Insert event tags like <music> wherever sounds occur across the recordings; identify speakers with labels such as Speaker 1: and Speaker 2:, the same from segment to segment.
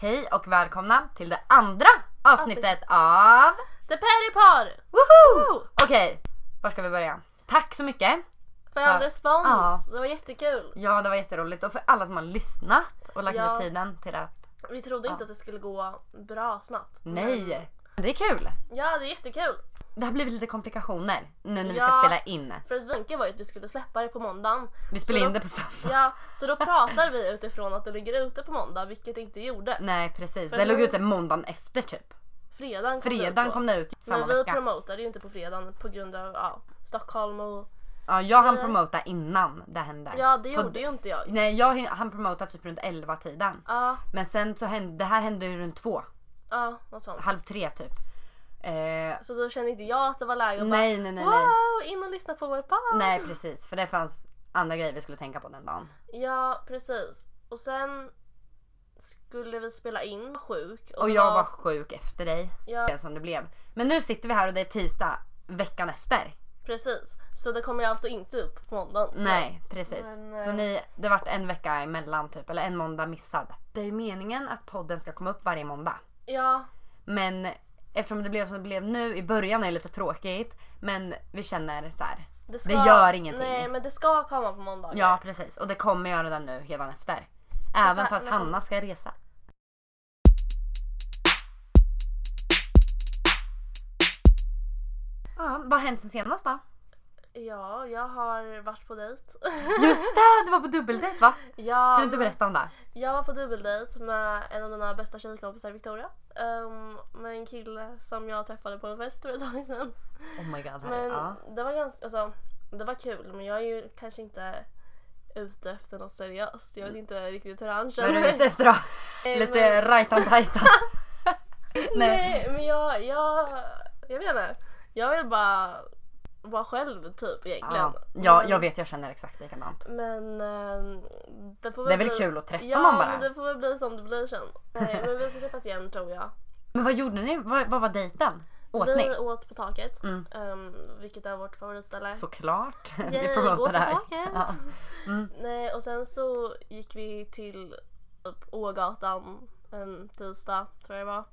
Speaker 1: Hej och välkomna till det andra avsnittet av...
Speaker 2: The Petty Pod!
Speaker 1: Woho! Okej, var ska vi börja? Tack så mycket!
Speaker 2: För
Speaker 1: Ja.
Speaker 2: all respons.
Speaker 1: Ja.
Speaker 2: Det var jättekul.
Speaker 1: Ja, det var jätteroligt och för alla som har lyssnat och lagt
Speaker 2: Ja.
Speaker 1: ner tiden till att...
Speaker 2: Vi trodde inte att det skulle gå bra snabbt. Men,
Speaker 1: Nej! Det är kul!
Speaker 2: ja, det är jättekul.
Speaker 1: Det har blivit lite komplikationer nu när vi
Speaker 2: Ja.
Speaker 1: ska spela in.
Speaker 2: För att vinkeln var ju att du skulle släppa det på måndagen.
Speaker 1: Vi spelar
Speaker 2: Så
Speaker 1: in
Speaker 2: då-
Speaker 1: det på söndag.
Speaker 2: Ja, så då pratar vi utifrån att det ligger ute på måndag, vilket det inte gjorde.
Speaker 1: Nej precis,
Speaker 2: För
Speaker 1: det
Speaker 2: nu-
Speaker 1: låg ute måndagen efter typ.
Speaker 2: Fredagen kom det ut
Speaker 1: Fredagen
Speaker 2: på.
Speaker 1: kom det ut samma
Speaker 2: Men vi
Speaker 1: vecka.
Speaker 2: promotade ju inte på fredagen på grund av ja, Stockholm och...
Speaker 1: Ja, jag hann
Speaker 2: Ja.
Speaker 1: promota innan det hände.
Speaker 2: Ja, det
Speaker 1: På-
Speaker 2: gjorde ju inte jag.
Speaker 1: Nej, jag hin- hann promota typ runt 11-tiden.
Speaker 2: Ja,
Speaker 1: Men sen så hände, det här hände ju runt två,
Speaker 2: ja, något sånt.
Speaker 1: halv tre typ. Eh,
Speaker 2: Så då kände inte jag att det var läge att bara
Speaker 1: nej, nej, nej, nej.
Speaker 2: Wow, in och lyssna på vår podd!
Speaker 1: Nej precis, för det fanns andra grejer vi skulle tänka på den dagen.
Speaker 2: Ja, precis. Och sen skulle vi spela in sjuk.
Speaker 1: Och
Speaker 2: det
Speaker 1: jag var sjuk efter dig.
Speaker 2: Ja,
Speaker 1: Det som det blev. Men nu sitter vi här och det är tisdag veckan efter.
Speaker 2: precis. Så det kommer ju alltså inte upp på måndagen.
Speaker 1: Nej, precis.
Speaker 2: Men, eh,
Speaker 1: Så ni, det vart en vecka emellan typ, eller en måndag missad. Det är ju meningen att podden ska komma upp varje måndag.
Speaker 2: Ja,
Speaker 1: Men eftersom det blev som det blev nu, i början är det lite tråkigt. Men vi känner så här.
Speaker 2: det, ska,
Speaker 1: Det gör ingenting.
Speaker 2: Nej, men det ska komma på måndagar.
Speaker 1: Ja precis, och det kommer göra det nu redan efter.
Speaker 2: Fast
Speaker 1: Även
Speaker 2: här-
Speaker 1: fast
Speaker 2: men-
Speaker 1: Hanna ska resa. Ja, vad har hänt sen senast då?
Speaker 2: Ja, jag har varit
Speaker 1: <laughs>
Speaker 2: på dejt.
Speaker 1: Just det, du var på dubbeldejt va?
Speaker 2: ja,
Speaker 1: Kan du inte berätta om det?
Speaker 2: Jag var på dubbeldejt med en av mina bästa tjejkompisar, Victoria. Ehm, med en kille som jag träffade på en fest för ett tag sedan.
Speaker 1: Oh my god. Harry.
Speaker 2: Men
Speaker 1: ja.
Speaker 2: det var ganska, alltså, det var kul men jag är ju kanske inte ute efter något seriöst. Jag vet inte riktigt hur han
Speaker 1: Vad är
Speaker 2: känner.
Speaker 1: du ute efter då?
Speaker 2: Nej,
Speaker 1: Lite
Speaker 2: men-
Speaker 1: rajtan tajtan? Nej.
Speaker 2: Nej men jag, jag, jag vet inte. Jag vill bara vara själv typ egentligen.
Speaker 1: Ja, ja,
Speaker 2: Men-
Speaker 1: jag vet jag känner exakt likadant.
Speaker 2: Men ehm, det får
Speaker 1: Det är väl
Speaker 2: bli...
Speaker 1: kul att träffa
Speaker 2: ja,
Speaker 1: någon
Speaker 2: men
Speaker 1: bara.
Speaker 2: det får väl bli som det blir sen. Nej men vi ska träffas igen tror jag.
Speaker 1: Men vad gjorde ni? Vad, vad var dejten? Åt ni?
Speaker 2: Vi åt på taket.
Speaker 1: Mm.
Speaker 2: ehm, vilket är vårt favoritställe.
Speaker 1: Såklart. <laughs>
Speaker 2: Yay,
Speaker 1: vi promotar
Speaker 2: gå
Speaker 1: det
Speaker 2: till
Speaker 1: här.
Speaker 2: taket!
Speaker 1: Ja.
Speaker 2: Nej, och sen så gick vi till upp Ågatan en tisdag, tror jag det var.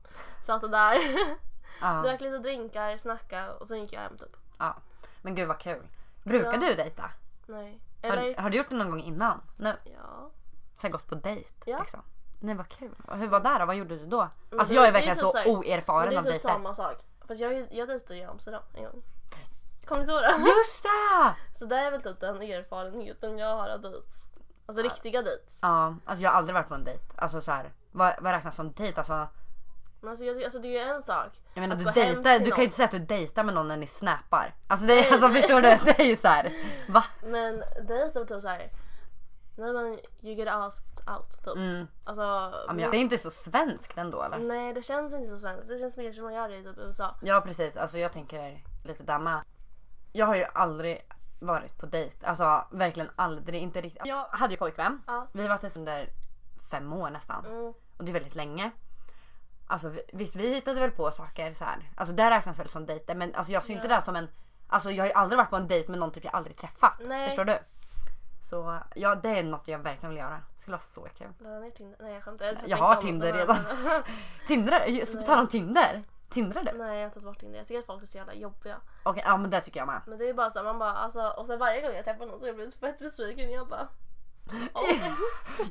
Speaker 2: Satt där, <laughs>
Speaker 1: Ja.
Speaker 2: drack lite drinkar, snackade och sen gick jag hem typ.
Speaker 1: Ja. Men gud vad kul. Brukar
Speaker 2: Ja.
Speaker 1: du dejta?
Speaker 2: Nej.
Speaker 1: Har,
Speaker 2: Eller?
Speaker 1: har du gjort det någon gång innan? Nu?
Speaker 2: Ja.
Speaker 1: Så här gått på dejt?
Speaker 2: Ja.
Speaker 1: Liksom. Nej vad kul. Och Hur var det då? Vad gjorde du då?
Speaker 2: Men
Speaker 1: Alltså
Speaker 2: det-
Speaker 1: jag är
Speaker 2: det är
Speaker 1: verkligen
Speaker 2: typ
Speaker 1: så,
Speaker 2: så här- Men
Speaker 1: oerfaren
Speaker 2: det är
Speaker 1: av
Speaker 2: typ
Speaker 1: dejter.
Speaker 2: samma sak. Fast jag, jag dejtade ju i Amsterdam en gång. Kommer du inte ihåg det?
Speaker 1: <laughs> Just det!
Speaker 2: Så det är väl typ den erfarenheten jag har av dates. Alltså riktiga dates.
Speaker 1: Ja, alltså jag har aldrig varit på en dejt. Alltså så här, vad, vad räknas som dejt? Alltså,
Speaker 2: Men alltså, jag, alltså det är ju en sak.
Speaker 1: jag menar
Speaker 2: Att
Speaker 1: du
Speaker 2: gå hem
Speaker 1: dejtar,
Speaker 2: till
Speaker 1: du kan
Speaker 2: någon.
Speaker 1: ju inte säga att du dejtar med någon när ni snappar. Alltså, det, är- alltså förstår du? Det är ju så här. va?
Speaker 2: Men dejt är typ såhär, nej men you get asked out typ.
Speaker 1: Mm,
Speaker 2: Alltså,
Speaker 1: ja, men jag, det är inte så svenskt ändå eller?
Speaker 2: Nej, det känns inte så svenskt. Det känns mer som man gör det i typ USA.
Speaker 1: Ja precis, alltså jag tänker lite där med. Jag har ju aldrig varit på dejt, alltså verkligen aldrig, inte riktigt. Jag hade ju pojkvän,
Speaker 2: Ja.
Speaker 1: vi var tillsammans under fem år nästan
Speaker 2: Mm.
Speaker 1: och det är väldigt länge. Alltså vi- visst vi hittade väl på saker så här. alltså det räknas väl som dejter men alltså jag ser inte
Speaker 2: Ja.
Speaker 1: det här som en, alltså jag har ju aldrig varit på en dejt med någon typ jag aldrig träffat.
Speaker 2: Nej.
Speaker 1: Förstår du? Så ja det är något jag verkligen vill göra, det skulle vara så kul.
Speaker 2: Laddar ner Tinder? Nej jag skämtar. Jag,
Speaker 1: Jag
Speaker 2: träffar
Speaker 1: har
Speaker 2: inte
Speaker 1: Tinder
Speaker 2: någon.
Speaker 1: redan. Tindrar, så på
Speaker 2: Nej.
Speaker 1: tal om Tinder, tindrar du?
Speaker 2: <laughs> Nej jag har tagit bort Tinder. Jag tycker att folk är så jävla jobbiga.
Speaker 1: Okej, ja men det tycker jag med.
Speaker 2: Men det är bara så här, man bara alltså och sen varje gång jag träffar någon så jag blir fett besviken. Jag bara oh,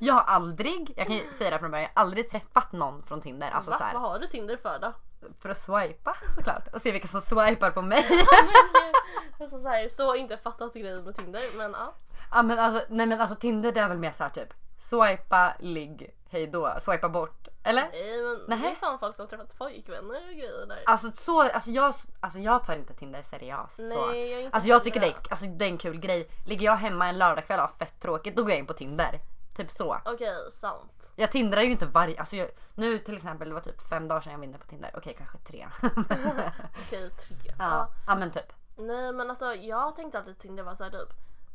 Speaker 1: Jag har aldrig, jag kan ju säga det här från början, jag har aldrig träffat någon från Tinder. <laughs> Alltså
Speaker 2: Ah. va?
Speaker 1: så här,
Speaker 2: Vad har du Tinder för då?
Speaker 1: för att swipa såklart. Och se vilka som swipar på mig.
Speaker 2: alltså, så, här, så inte fattat grejen med Tinder men ja.
Speaker 1: <laughs> ja, men alltså, nej men alltså Tinder det är väl mer så här typ swipa, ligg, hejdå, swipa bort. Eller?
Speaker 2: Nej men det
Speaker 1: Nähä.
Speaker 2: är fan folk som har träffat pojkvänner och grejer där.
Speaker 1: Alltså, så, alltså, jag, alltså jag tar inte Tinder seriöst.
Speaker 2: Nej,
Speaker 1: så.
Speaker 2: jag är inte
Speaker 1: Alltså jag tycker det
Speaker 2: heller.
Speaker 1: är, alltså, det är en kul grej. Ligger jag hemma en lördagkväll och har fett tråkigt då går jag in på Tinder. Typ så.
Speaker 2: Okej, sant.
Speaker 1: Jag tindrar ju inte varje... Alltså jag, nu till exempel, det var typ fem dagar sedan jag var inne på Tinder. Okej kanske tre. <laughs>
Speaker 2: Okej, tre. Ja. <laughs>
Speaker 1: ja. ja men typ.
Speaker 2: Nej men alltså jag tänkte alltid att Tinder var såhär typ,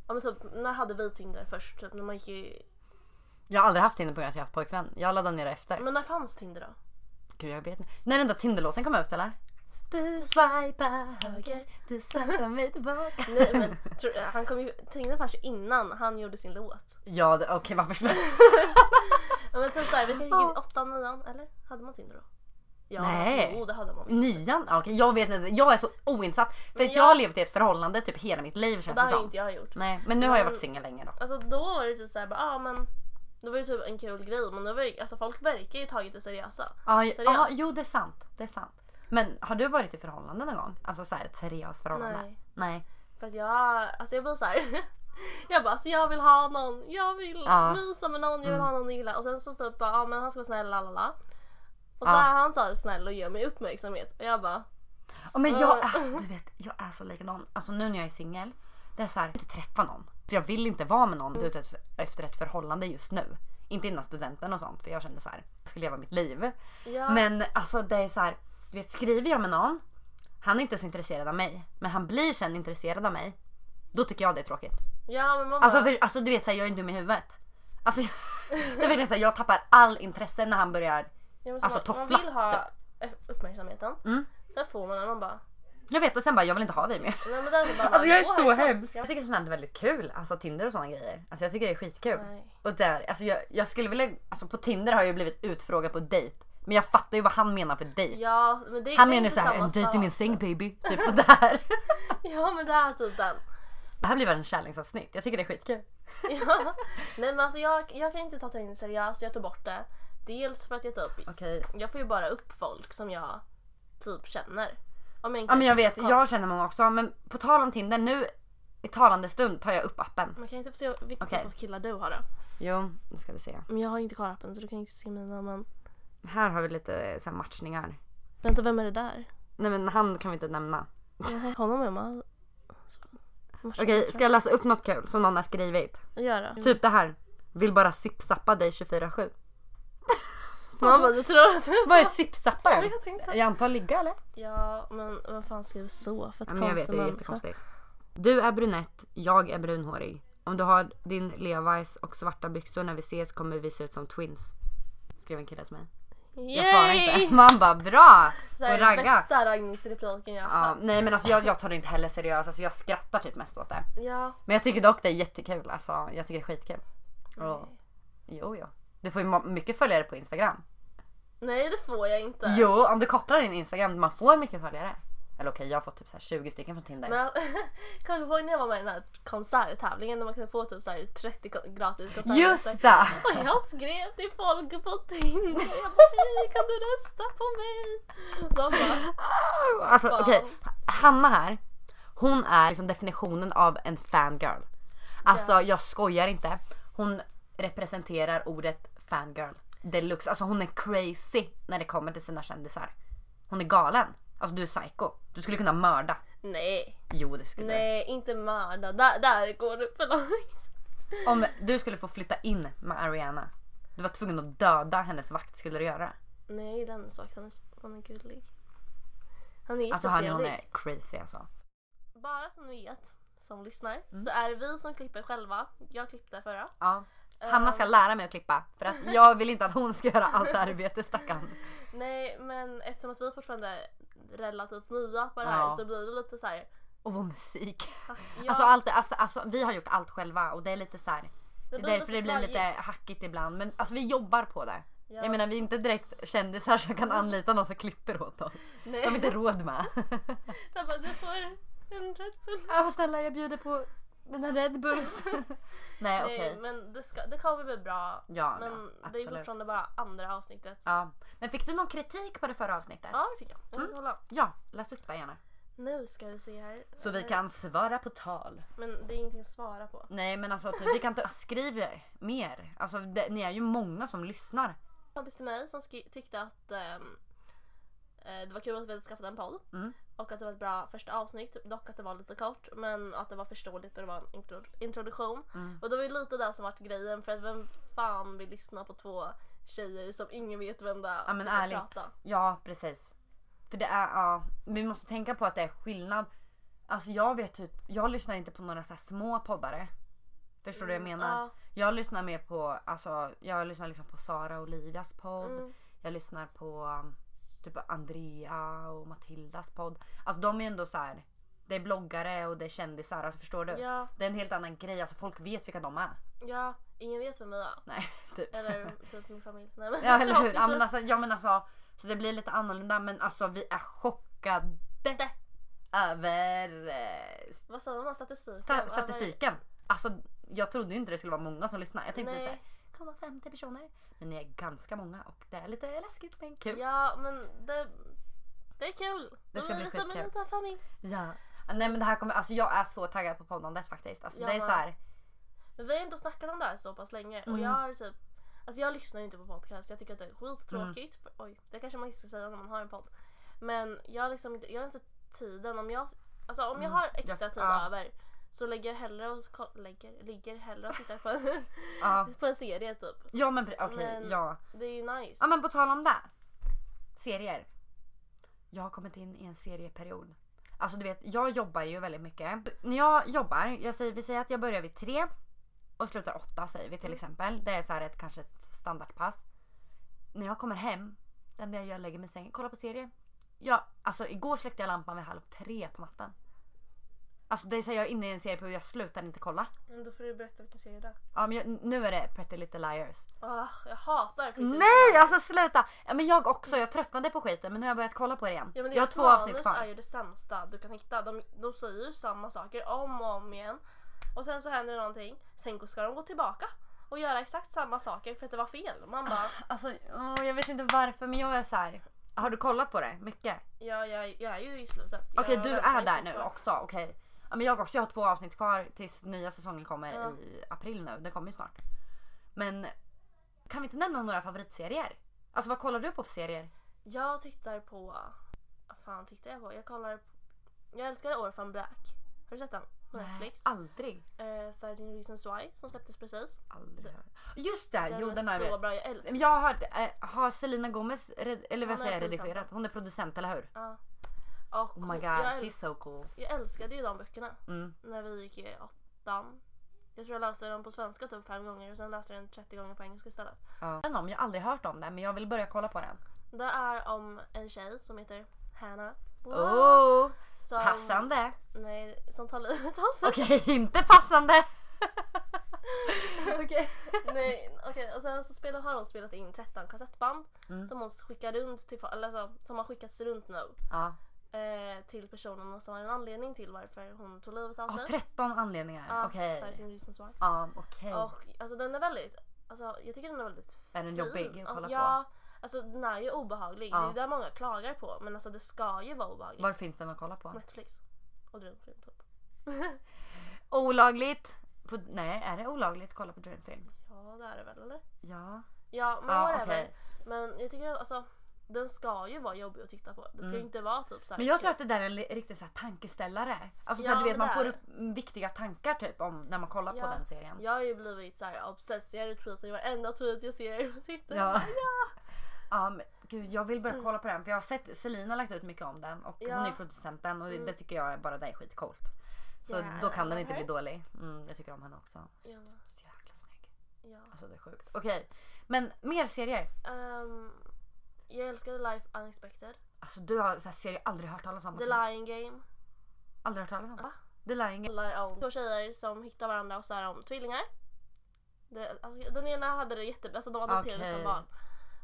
Speaker 2: ja men typ när hade vi Tinder först? Typ när man gick i...
Speaker 1: Jag har aldrig haft Tinder på grund av att jag har haft pojkvän. Jag laddade ner det efter.
Speaker 2: Men när fanns Tinder då?
Speaker 1: Gud jag vet inte. När den där Tinderlåten kom ut eller?
Speaker 3: Du swipar höger, du swipar mig tillbaka.
Speaker 2: Nej
Speaker 1: <laughs>
Speaker 2: men tror- han kom ju, Tina Fars innan han gjorde sin låt.
Speaker 1: Ja, det- okej varför skulle
Speaker 2: Ja, men typ såhär, vi kanske gick i åttan, nian eller? Hade man Tinder då? Ja,
Speaker 1: Nej.
Speaker 2: Jo det hade man visst.
Speaker 1: Nian? Ja, Okej, jag vet inte. Jag är så oinsatt. För
Speaker 2: Men
Speaker 1: att
Speaker 2: jag-
Speaker 1: jag har levt i ett förhållande typ hela mitt liv
Speaker 2: Och
Speaker 1: känns
Speaker 2: det
Speaker 1: det
Speaker 2: har ju
Speaker 1: som.
Speaker 2: inte jag gjort.
Speaker 1: Nej, men nu har jag
Speaker 2: Men-
Speaker 3: Mm.
Speaker 1: varit singel länge då.
Speaker 2: Alltså då var det typ såhär bara, ah, men det var ju typ en kul grej men då var, alltså, folk verkar ju tagit det seriösa.
Speaker 1: Ja, j-
Speaker 2: Seriöst?
Speaker 1: ja, jo det är sant. Det är sant. Men har du varit i förhållande någon gång? Alltså så här, ett seriöst förhållande?
Speaker 2: Nej.
Speaker 1: Nej.
Speaker 2: För att jag, alltså jag blir såhär. <laughs> Jag bara alltså jag vill ha någon, jag vill
Speaker 1: Ja.
Speaker 2: mysa med någon, jag vill
Speaker 1: Mm.
Speaker 2: ha någon jag gillar. Och sen så typ bara, ah, men han ska vara snäll, lalala. Och så
Speaker 1: Ja.
Speaker 2: är han så här snäll och ger mig uppmärksamhet. Och jag bara,
Speaker 1: Ja, men jag,
Speaker 2: Mm.
Speaker 1: alltså, du vet, jag är så likadan. Alltså nu när jag är singel, det är så här, jag vill inte träffa någon. För jag vill inte vara med någon ute ett- efter ett förhållande just nu. Inte innan studenten och sånt för jag kände så här, jag ska leva mitt liv.
Speaker 2: ja.
Speaker 1: Men alltså det är så här, du vet skriver jag med någon, han är inte så intresserad av mig, men han blir sen intresserad av mig. Då tycker jag det är tråkigt.
Speaker 2: Ja men man
Speaker 1: Alltså,
Speaker 2: bara,
Speaker 1: för, alltså du vet såhär, jag är dum i huvudet. Alltså, jag, <laughs> det är verkligen såhär, jag tappar all intresse när han börjar.
Speaker 2: ja, men så
Speaker 1: alltså,
Speaker 2: man, man
Speaker 1: toffla,
Speaker 2: vill ha uppmärksamheten.
Speaker 1: Mm.
Speaker 2: Sen får man den och man bara,
Speaker 1: Jag vet och sen bara, jag vill inte ha dig mer.
Speaker 2: nej men den är bara
Speaker 3: Alltså, jag är
Speaker 2: "Åh,
Speaker 3: så
Speaker 2: härifrån."
Speaker 3: hemsk.
Speaker 1: Jag
Speaker 2: Ja.
Speaker 1: tycker sånt här är väldigt kul, alltså Tinder och sådana grejer. Alltså jag tycker det är skitkul.
Speaker 2: Nej.
Speaker 1: Och där, alltså jag, jag skulle vilja, alltså på Tinder har jag ju blivit utfrågad på dejt. Men jag fattar ju vad han menar för dejt.
Speaker 2: Ja men det,
Speaker 1: Han
Speaker 2: det är
Speaker 1: menar ju
Speaker 2: inte
Speaker 1: såhär,
Speaker 2: samma
Speaker 1: en dejt i min
Speaker 2: sak.
Speaker 1: säng <laughs> baby. Typ sådär.
Speaker 2: <laughs> Ja men det är typ den. <laughs>
Speaker 1: det här blir väl en kärleksavsnitt, jag tycker det är skitkul.
Speaker 2: Ja. Nej men alltså jag, jag kan inte ta Tinder seriöst, jag tog bort det. Dels för att jag typ,
Speaker 1: Okej.
Speaker 2: jag får ju bara upp folk som jag typ känner. Om jag inte
Speaker 1: Ja men jag vet,
Speaker 2: Kom.
Speaker 1: jag känner många också. Men på tal om Tinder, nu i talande stund tar jag upp appen.
Speaker 2: Man kan inte få se vilka
Speaker 1: Okej.
Speaker 2: typ av killar du har då.
Speaker 1: Jo, nu ska vi se.
Speaker 2: Men jag har inte kvar appen så du kan inte se mina men.
Speaker 1: Här har vi lite eh, så här, matchningar.
Speaker 2: Vänta vem är det där?
Speaker 1: Nej men han kan vi inte nämna.
Speaker 2: Nej,
Speaker 1: <laughs>
Speaker 2: Honom är man.
Speaker 1: Okej, ska jag läsa upp något kul som någon har skrivit?
Speaker 2: Gör det.
Speaker 1: Typ det här. Vill bara sipsappa dig 24-7.
Speaker 2: Man bara, du tror att
Speaker 1: Vad är sipsappa
Speaker 2: Jag
Speaker 1: ens?
Speaker 2: vet inte.
Speaker 1: Jag antar ligga eller?
Speaker 2: Ja, men vem fan skriver så? För att
Speaker 1: Ja, men jag vet, det är jättekonstigt. Du är brunett, jag är brunhårig. Om du har din Levi's och svarta byxor när vi ses kommer vi se ut som twins. Skrev en kille till mig. Jag svarar inte. <laughs> Man bara bra!
Speaker 2: Det är
Speaker 1: Och
Speaker 2: den
Speaker 1: ragga.
Speaker 2: bästa raggningsrepliken jag har
Speaker 1: Ja, nej men alltså jag, jag tar det inte heller seriöst. Alltså jag skrattar typ mest åt det.
Speaker 2: Ja.
Speaker 1: Men jag tycker dock det är jättekul. Alltså jag tycker det är skitkul. Och, jo, jo. Du får ju ma- mycket följare på Instagram.
Speaker 2: Nej det får jag inte.
Speaker 1: Jo, om du kopplar din Instagram, man får mycket följare. Eller okej, jag har fått typ så här 20 stycken från Tinder.
Speaker 2: Men <laughs> kommer du ihåg när jag var med i den här konserttävlingen där man kunde få typ så här 30 kon- gratis konserter?
Speaker 1: Just det!
Speaker 2: Och alltså, jag skrev till folk på Tinder. Jag bara hej kan du rösta på mig? De bara
Speaker 1: Alltså
Speaker 2: Fan.
Speaker 1: okej, Hanna här. Hon är liksom definitionen av en fangirl. Alltså jag skojar inte. Hon representerar ordet fangirl deluxe. Alltså hon är crazy när det kommer till sina kändisar. Hon är galen. Alltså du är psycho. Du skulle kunna mörda.
Speaker 2: nej,
Speaker 1: Jo det skulle
Speaker 2: nej inte mörda. Där, där går det för långt.
Speaker 1: du. Om du skulle få flytta in med Ariana. Du var tvungen att döda hennes vakt, skulle du göra det?
Speaker 2: Nej den är svag, han är, han är gullig. Han är
Speaker 1: Alltså hörni
Speaker 2: jättetrevlig.
Speaker 1: hon är crazy alltså.
Speaker 2: Bara som ni vet som lyssnar
Speaker 1: Mm.
Speaker 2: så är det vi som klipper själva. Jag klippte förra.
Speaker 1: Ja. Hanna ska lära mig att klippa för att jag vill inte att hon ska göra allt arbete stackarn.
Speaker 2: Nej men eftersom att vi fortfarande är relativt nya på det här
Speaker 1: Ja.
Speaker 2: så blir det lite så här.
Speaker 1: Och vår musik.
Speaker 2: Ja,
Speaker 1: Alltså, allt, alltså, alltså vi har gjort allt själva och det är lite så här. Det är
Speaker 2: blir
Speaker 1: därför
Speaker 2: lite
Speaker 1: det blir lite
Speaker 2: svajigt.
Speaker 1: hackigt ibland. Men alltså vi jobbar på det.
Speaker 2: Ja.
Speaker 1: Jag menar vi är inte direkt kändisar som kan anlita någon som klipper åt oss. De har
Speaker 2: Nej.
Speaker 1: inte råd med.
Speaker 2: <laughs> Så jag bara, du får en Red Bull.
Speaker 1: <laughs> Ja snälla jag bjuder på mina Red Bulls. <laughs> Nej okej.
Speaker 2: Nej, men det, ska, det kommer bli bra.
Speaker 1: Ja,
Speaker 2: men
Speaker 1: ja,
Speaker 2: det är
Speaker 1: absolut.
Speaker 2: fortfarande bara andra avsnittet.
Speaker 1: Ja. Men fick du någon kritik på det förra avsnittet?
Speaker 2: Ja, det fick jag. jag mm. hålla.
Speaker 1: Ja, läs upp det gärna.
Speaker 2: Nu ska vi se här.
Speaker 1: Så vi kan svara på tal.
Speaker 2: Men det är ingenting att svara på.
Speaker 1: Nej men alltså typ, vi kan inte <laughs> skriva mer. Alltså det, ni är ju många som lyssnar.
Speaker 2: En kompis till mig som skri- tyckte att ehm, eh, det var kul att vi hade skaffat en podd.
Speaker 1: Mm.
Speaker 2: Och att det var ett bra första avsnitt. Dock att det var lite kort. Men att det var förståeligt och det var en intro- introduktion.
Speaker 1: Mm.
Speaker 2: Och det var ju lite det som vart grejen. För att vem fan vill lyssna på två tjejer som ingen vet vem det är
Speaker 1: Ja, men
Speaker 2: som ska
Speaker 1: ärligt.
Speaker 2: prata?
Speaker 1: Ja, precis. För det är, ja, vi måste tänka på att det är skillnad. Alltså jag vet typ, jag lyssnar inte på några så här små poddare. Förstår du vad jag menar?
Speaker 2: Mm, ja.
Speaker 1: Jag lyssnar mer
Speaker 2: Mm.
Speaker 1: på, alltså jag lyssnar liksom på Sara och Olivias podd. Jag lyssnar på um, typ Andrea och Matildas podd. Alltså de är ändå så här. Det är bloggare och det är kändisar. Alltså förstår du?
Speaker 2: Ja,
Speaker 1: Det är en helt annan grej. Alltså folk vet vilka de är.
Speaker 2: ja, ingen vet vem jag är.
Speaker 1: Nej,
Speaker 2: <laughs>
Speaker 1: typ. <laughs>
Speaker 2: Eller typ min familj. Nej, men,
Speaker 1: Ja, eller hur? Ja, men
Speaker 2: precis.
Speaker 1: alltså, ja, men alltså, så det blir lite annorlunda men alltså vi är chockade
Speaker 2: Det.
Speaker 1: över eh,
Speaker 2: Vad sa de om statistiken?
Speaker 1: sta- statistiken. Alltså jag trodde ju inte det skulle vara många som lyssnade. Jag tänkte typ såhär,
Speaker 2: Nej.
Speaker 1: kommer 50 personer. Men ni är ganska många och det är lite läskigt men kul.
Speaker 2: Ja, men det, det är kul.
Speaker 1: Det ska
Speaker 2: Då blir
Speaker 1: bli
Speaker 2: som en
Speaker 1: skitkul.
Speaker 2: liten familj.
Speaker 1: Ja. Nej men det här kommer, alltså jag är så taggad på poddandet faktiskt. Alltså
Speaker 2: Jag
Speaker 1: det är
Speaker 2: med.
Speaker 1: så här,
Speaker 2: Men vi har ändå snackat om det här så pass länge och
Speaker 1: Mm.
Speaker 2: jag har typ Alltså jag lyssnar ju inte på podcast, jag tycker att det är skittråkigt.
Speaker 1: Mm.
Speaker 2: För, oj, det kanske man inte ska säga när man har en podd. Men jag har liksom inte, jag har inte tiden. Om jag, alltså om jag
Speaker 1: Mm,
Speaker 2: har extra
Speaker 1: jag-
Speaker 2: tid
Speaker 1: ja.
Speaker 2: över så lägger jag hellre och, ko- lägger, ligger hellre och tittar
Speaker 1: <laughs>
Speaker 2: på en,
Speaker 1: ja.
Speaker 2: på en serie typ.
Speaker 1: Ja men pre- okej,
Speaker 2: Men-
Speaker 1: ja.
Speaker 2: Det är ju nice.
Speaker 1: Ja men på tal om det. Serier. Jag har kommit in i en serieperiod. Alltså du vet, jag jobbar ju väldigt mycket. När jag jobbar, jag säger, vi säger att jag börjar vid tre och slutar åtta säger vi till exempel. Det är så här ett, kanske ett standardpass. När jag kommer hem, det enda jag gör är att lägga mig i sängen, kolla på serier. Ja, alltså igår släckte jag lampan vid halv tre på natten. Alltså det är så här, jag är inne i en serieperiod, jag slutar inte kolla.
Speaker 2: Men då får du berätta vilken serie det är.
Speaker 1: Ja, men jag, nu är det Pretty Little Liars.
Speaker 2: Ah, jag hatar skit.
Speaker 1: Nej alltså sluta! Ja, men jag också, jag tröttnade på skiten men nu har jag börjat kolla på det igen.
Speaker 2: Ja, men
Speaker 1: jag har
Speaker 2: deras
Speaker 1: två avsnitt
Speaker 2: manus är
Speaker 1: kvar.
Speaker 2: ju det sämsta du kan hitta. De, de säger ju samma saker om och om igen. Och sen så händer det någonting. Sen ska de gå tillbaka och göra exakt samma saker för att det var fel. Man
Speaker 1: <laughs>
Speaker 2: bara,
Speaker 1: Alltså åh, jag vet inte varför men jag är så här. Har du kollat på det mycket?
Speaker 2: ja, jag, jag är ju i slutet. Jag
Speaker 1: Okej du
Speaker 2: väntar
Speaker 1: är där nu
Speaker 2: fortfarande.
Speaker 1: också, okej. Ja, men jag också, jag har två avsnitt kvar tills nya säsongen kommer
Speaker 2: Ja.
Speaker 1: i april nu. Den kommer ju snart. Men kan vi inte nämna några favoritserier? Alltså vad kollar du på för serier?
Speaker 2: Jag tittar på... Vad fan tittar jag på? Jag kollar... Jag älskar Orphan Black. Har du sett den? På Netflix.
Speaker 1: aldrig.
Speaker 2: Eh, 13 Reasons Why som släpptes precis.
Speaker 1: Aldrig. hört. Just det,
Speaker 2: Den
Speaker 1: jo den har
Speaker 2: är
Speaker 1: jag
Speaker 2: så
Speaker 1: vet. Mm.
Speaker 2: bra. Jag älskar
Speaker 1: Men Jag har hört, eh, har Selena Gomez, red, eller vad
Speaker 2: Hon är
Speaker 1: säger jag, redigerat?
Speaker 2: producenten.
Speaker 1: Hon är producent eller hur?
Speaker 2: Ja. Och
Speaker 1: Oh my god,
Speaker 2: jag,
Speaker 1: she's
Speaker 2: älsk-
Speaker 1: so cool.
Speaker 2: jag älskade ju de böckerna.
Speaker 1: Mm.
Speaker 2: när vi gick i åttan. Jag tror jag läste den på svenska typ fem gånger och sen läste jag den 30 gånger på engelska istället.
Speaker 1: Ja. Den om, jag har aldrig hört om den men jag vill börja kolla på den.
Speaker 2: Det är om en tjej som heter Hannah.
Speaker 1: Oh,
Speaker 2: som,
Speaker 1: passande!
Speaker 2: Nej, som tar livet av sig.
Speaker 1: Okej, <laughs> inte passande!
Speaker 2: <laughs> Okej. <laughs> nej, okej. Och sen så spelar, har hon spelat in 13 kassettband
Speaker 1: Mm.
Speaker 2: som hon skickar runt till fo- eller så, som har skickats runt nu
Speaker 1: <laughs> Ja.
Speaker 2: eh, till personerna som har en anledning till varför hon tog livet av
Speaker 1: Ja,
Speaker 2: sig.
Speaker 1: 13 anledningar.
Speaker 2: Alltså? Ja,
Speaker 1: okej.
Speaker 2: 13 reasons why.
Speaker 1: Ja, okej.
Speaker 2: Och alltså den är väldigt, alltså jag tycker den är väldigt fin.
Speaker 1: Är den jobbig att kolla
Speaker 2: Alltså, ja, alltså den är ju obehaglig.
Speaker 1: Ja.
Speaker 2: Det är det många klagar på. Men alltså det ska ju vara obehagligt.
Speaker 1: Var finns den att kolla på?
Speaker 2: Netflix. Och Dreamfilm typ.
Speaker 1: Olagligt? På, nej, är det olagligt att kolla på Dreamfilm?
Speaker 2: Ja det är det väl eller?
Speaker 1: Ja.
Speaker 2: Ja men
Speaker 1: Ja,
Speaker 2: whatever.
Speaker 1: okej.
Speaker 2: Men jag tycker att, alltså den ska ju vara jobbig att titta på. Det ska ju inte vara typ såhär.
Speaker 1: Mm. Men jag tror att det där är en li- riktig så här tankeställare. Alltså så
Speaker 2: Ja,
Speaker 1: här, du vet
Speaker 2: det
Speaker 1: man får
Speaker 2: där.
Speaker 1: upp viktiga tankar typ om när man kollar på
Speaker 2: Ja.
Speaker 1: den serien.
Speaker 2: Jag har ju blivit såhär obsessed. Jag retweetar ju varenda tweet jag ser på Twitter.
Speaker 1: Ja. <laughs> ja men, gud, jag vill börja kolla på den för jag har sett Selina lagt ut mycket om den och
Speaker 2: Mm. Ja. Mm.
Speaker 1: hon är ju producenten och det, det tycker jag är bara det är skitcoolt. Så då kan den inte bli dålig. Mm, jag tycker om henne också. Så,
Speaker 2: Ja.
Speaker 1: så jäkla snygg.
Speaker 2: Ja.
Speaker 1: Alltså det är sjukt. Okej, men mer serier.
Speaker 2: Ehm, jag älskade Life Unexpected.
Speaker 1: Alltså du har så här serier jag aldrig hört talas om.
Speaker 2: The Lion Game.
Speaker 1: Aldrig hört talas om.
Speaker 2: Va?
Speaker 1: The Lion Game.
Speaker 2: handlar om två tjejer som hittar varandra och så är de tvillingar. Det, alltså, den ena hade det jättebra, alltså de adopterade
Speaker 1: Okej.
Speaker 2: som barn.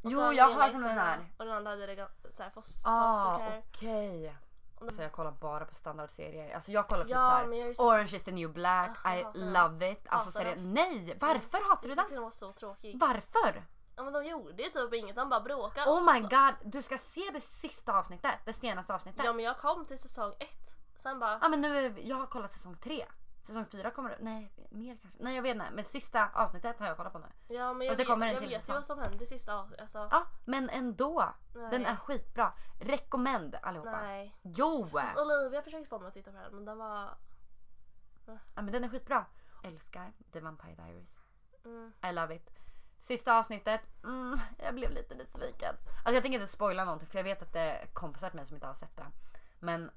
Speaker 2: Och
Speaker 1: Jo,
Speaker 2: så den
Speaker 1: jag har
Speaker 2: ena
Speaker 1: hört om den
Speaker 2: jättebra,
Speaker 1: här.
Speaker 2: Och den andra hade det gan- så här, foster,
Speaker 1: Ah,
Speaker 2: foster care.
Speaker 1: okej.
Speaker 2: Och
Speaker 1: Så
Speaker 2: de,
Speaker 1: jag kollar bara på standardserier. Alltså jag kollar typ
Speaker 2: Ja,
Speaker 1: såhär
Speaker 2: men jag är så-
Speaker 1: Orange is the new black,
Speaker 2: Ugh, jag
Speaker 1: I
Speaker 2: hatar den.
Speaker 1: love it. Alltså
Speaker 2: Hatar Mm. den.
Speaker 1: serier. Nej! Varför hatar du
Speaker 2: jag
Speaker 1: den?
Speaker 2: tyckte den var så tråkig.
Speaker 1: Varför?
Speaker 2: Ja, men de gjorde ju typ inget, de bara bråkade. och Alltså, så
Speaker 1: Oh my
Speaker 2: sl-
Speaker 1: god, du ska se det sista avsnittet. Det senaste avsnittet.
Speaker 2: Ja men jag kom till säsong ett. Sen bara,
Speaker 1: Ja men nu, är vi- jag har kollat säsong tre. Säsong fyra kommer upp. Nej, mer kanske. Nej jag vet inte. Men sista avsnittet har jag kollat på nu.
Speaker 2: ja men jag,
Speaker 1: Och det kommer en
Speaker 2: vet, jag
Speaker 1: till
Speaker 2: vet ju
Speaker 1: säsong.
Speaker 2: vad som hände i sista avsnittet. Alltså,
Speaker 1: Ja, men ändå.
Speaker 2: Nej.
Speaker 1: Den är skitbra. Rekommend allihopa.
Speaker 2: nej.
Speaker 1: Jo!
Speaker 2: Alltså, Olivia försökte få mig att titta på den men den var...
Speaker 1: Ja, men den är skitbra. Älskar The Vampire Diaries.
Speaker 2: Mm,
Speaker 1: I love it. Sista avsnittet, mm, jag blev lite besviken. Alltså jag tänker inte spoila någonting för jag vet att det är kompisar till mig som inte har sett det. Men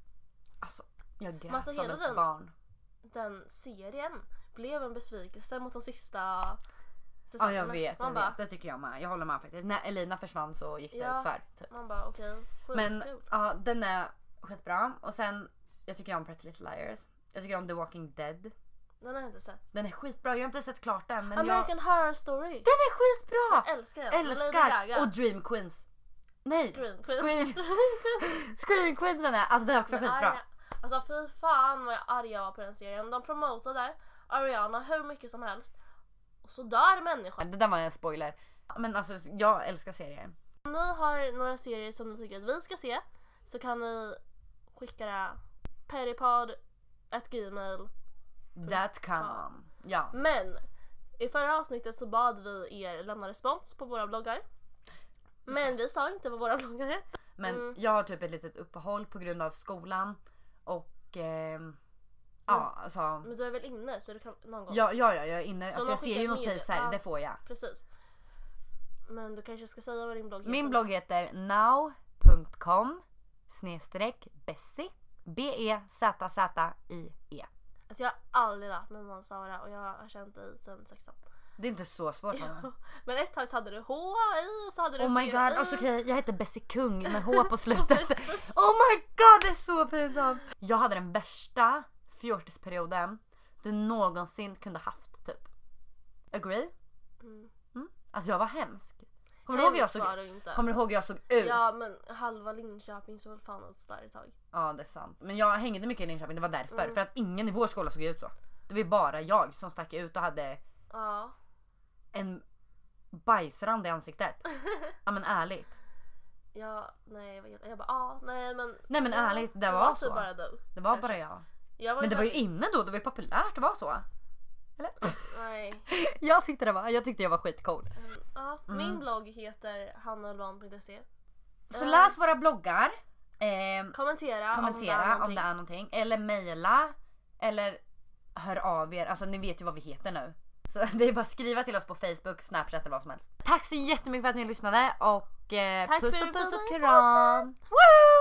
Speaker 1: alltså jag grät
Speaker 2: alltså,
Speaker 1: som
Speaker 2: hela
Speaker 1: ett
Speaker 2: den-
Speaker 1: barn.
Speaker 2: den serien blev en besvikelse mot de sista
Speaker 1: Ja
Speaker 2: säsongen.
Speaker 1: jag vet, jag
Speaker 2: man
Speaker 1: vet.
Speaker 2: bara,
Speaker 1: Det tycker jag med. Jag håller med faktiskt. När Elina försvann så gick det
Speaker 2: Ja.
Speaker 1: utför. Typ.
Speaker 2: Man bara okej,
Speaker 1: Men
Speaker 2: skitkul.
Speaker 1: ja, den är skitbra. Och sen, jag tycker om Pretty Little Liars. Jag tycker om The Walking Dead.
Speaker 2: Den har jag inte sett.
Speaker 1: Den är skitbra. Jag har inte sett klart den men jag...
Speaker 2: American Horror Story.
Speaker 1: Den är skitbra!
Speaker 2: Älskar den. Med Lady Gaga.
Speaker 1: Älskar! Och Dream Queens. Nej!
Speaker 2: Scream
Speaker 1: Scream,
Speaker 2: <laughs> Queens.
Speaker 1: <laughs> Scream Queens menar jag. Alltså den är också
Speaker 2: Men
Speaker 1: skitbra.
Speaker 2: Ari- Alltså fy fan vad arg jag var på den serien. De promotade Ariana hur mycket som helst. Och så dör människan.
Speaker 1: Det där var en spoiler. Men alltså jag älskar serier.
Speaker 2: Om ni har några serier som ni tycker att vi ska se så kan ni skicka det peripod at gmail.
Speaker 1: That can. Ja.
Speaker 2: Men i förra avsnittet så bad vi er lämna respons på våra bloggar. Men vi sa inte vad våra <laughs> bloggar hette.
Speaker 1: Men
Speaker 2: Mm.
Speaker 1: jag har typ ett litet uppehåll på grund av skolan. Och ehm, ja alltså.
Speaker 2: Mm. Men du är väl inne så du kan någon gång.
Speaker 1: Ja, ja, ja jag är inne.
Speaker 2: Så
Speaker 1: Alltså,
Speaker 2: de
Speaker 1: jag ser ju
Speaker 2: skickar med-
Speaker 1: notiser,
Speaker 2: ja.
Speaker 1: det får jag.
Speaker 2: Precis. Men du kanske ska säga vad din blogg heter.
Speaker 1: Min blogg heter now.com snedstreck bessie. E B-E-Z-Z-I-E.
Speaker 2: Alltså jag har aldrig lärt mig vad man sa det och jag har känt dig sedan sexan.
Speaker 1: Det är inte så svårt Anna.
Speaker 2: <laughs> Men ett tag så hade du H i och så hade du
Speaker 1: Oh my
Speaker 2: V
Speaker 1: god,
Speaker 2: i.
Speaker 1: alltså, okej jag heter Bessie Kung med
Speaker 2: <laughs>
Speaker 1: H på slutet.
Speaker 2: Precis.
Speaker 1: <laughs> oh my god det är så pinsamt. Jag hade den värsta fjortisperioden du någonsin kunde haft typ. Agree?
Speaker 2: Mm.
Speaker 1: Alltså jag var hemsk. Kommer du ihåg hur jag
Speaker 2: Hemskt
Speaker 1: såg
Speaker 2: var du inte.
Speaker 1: Kommer du ihåg hur jag såg ut? Ja.
Speaker 2: Ja men halva Linköping såg väl fan ut sådär ett tag.
Speaker 1: det är sant. Men jag hängde mycket i Linköping, det var därför.
Speaker 2: Mm.
Speaker 1: För att ingen i vår skola såg ut så. Det var bara jag som stack ut och hade
Speaker 2: Ja.
Speaker 1: en bajsrand i
Speaker 2: <laughs>
Speaker 1: ansiktet. ja men ärligt.
Speaker 2: Ja, nej vad jag, jag bara ah, nej men.
Speaker 1: Nej, men
Speaker 2: ja,
Speaker 1: ärligt, det var
Speaker 2: typ
Speaker 1: så.
Speaker 2: bara du.
Speaker 1: Det var
Speaker 2: Kanske.
Speaker 1: bara jag.
Speaker 2: Jag
Speaker 1: Men det var ju
Speaker 2: faktiskt-
Speaker 1: inne då, det var ju populärt att vara så.
Speaker 2: <laughs>
Speaker 1: Eller?
Speaker 2: Nej.
Speaker 1: jag tyckte det var, jag tyckte jag var skitcool.
Speaker 2: Mm, Ja, Min blogg heter hannaulvan.se.
Speaker 1: Så
Speaker 2: Mm.
Speaker 1: läs våra bloggar. ehm,
Speaker 2: Kommentera,
Speaker 1: kommentera
Speaker 2: om det
Speaker 1: är
Speaker 2: är någonting.
Speaker 1: någonting. Eller mejla. Eller hör av er. Alltså ni vet ju vad vi heter nu. Så <laughs> det är bara att skriva till oss på Facebook, Snapchat eller vad som helst. Tack så jättemycket för att ni lyssnade och eh,
Speaker 2: Tack
Speaker 1: puss
Speaker 2: för
Speaker 1: och puss
Speaker 2: den
Speaker 1: och
Speaker 2: fina
Speaker 1: kram. Woo!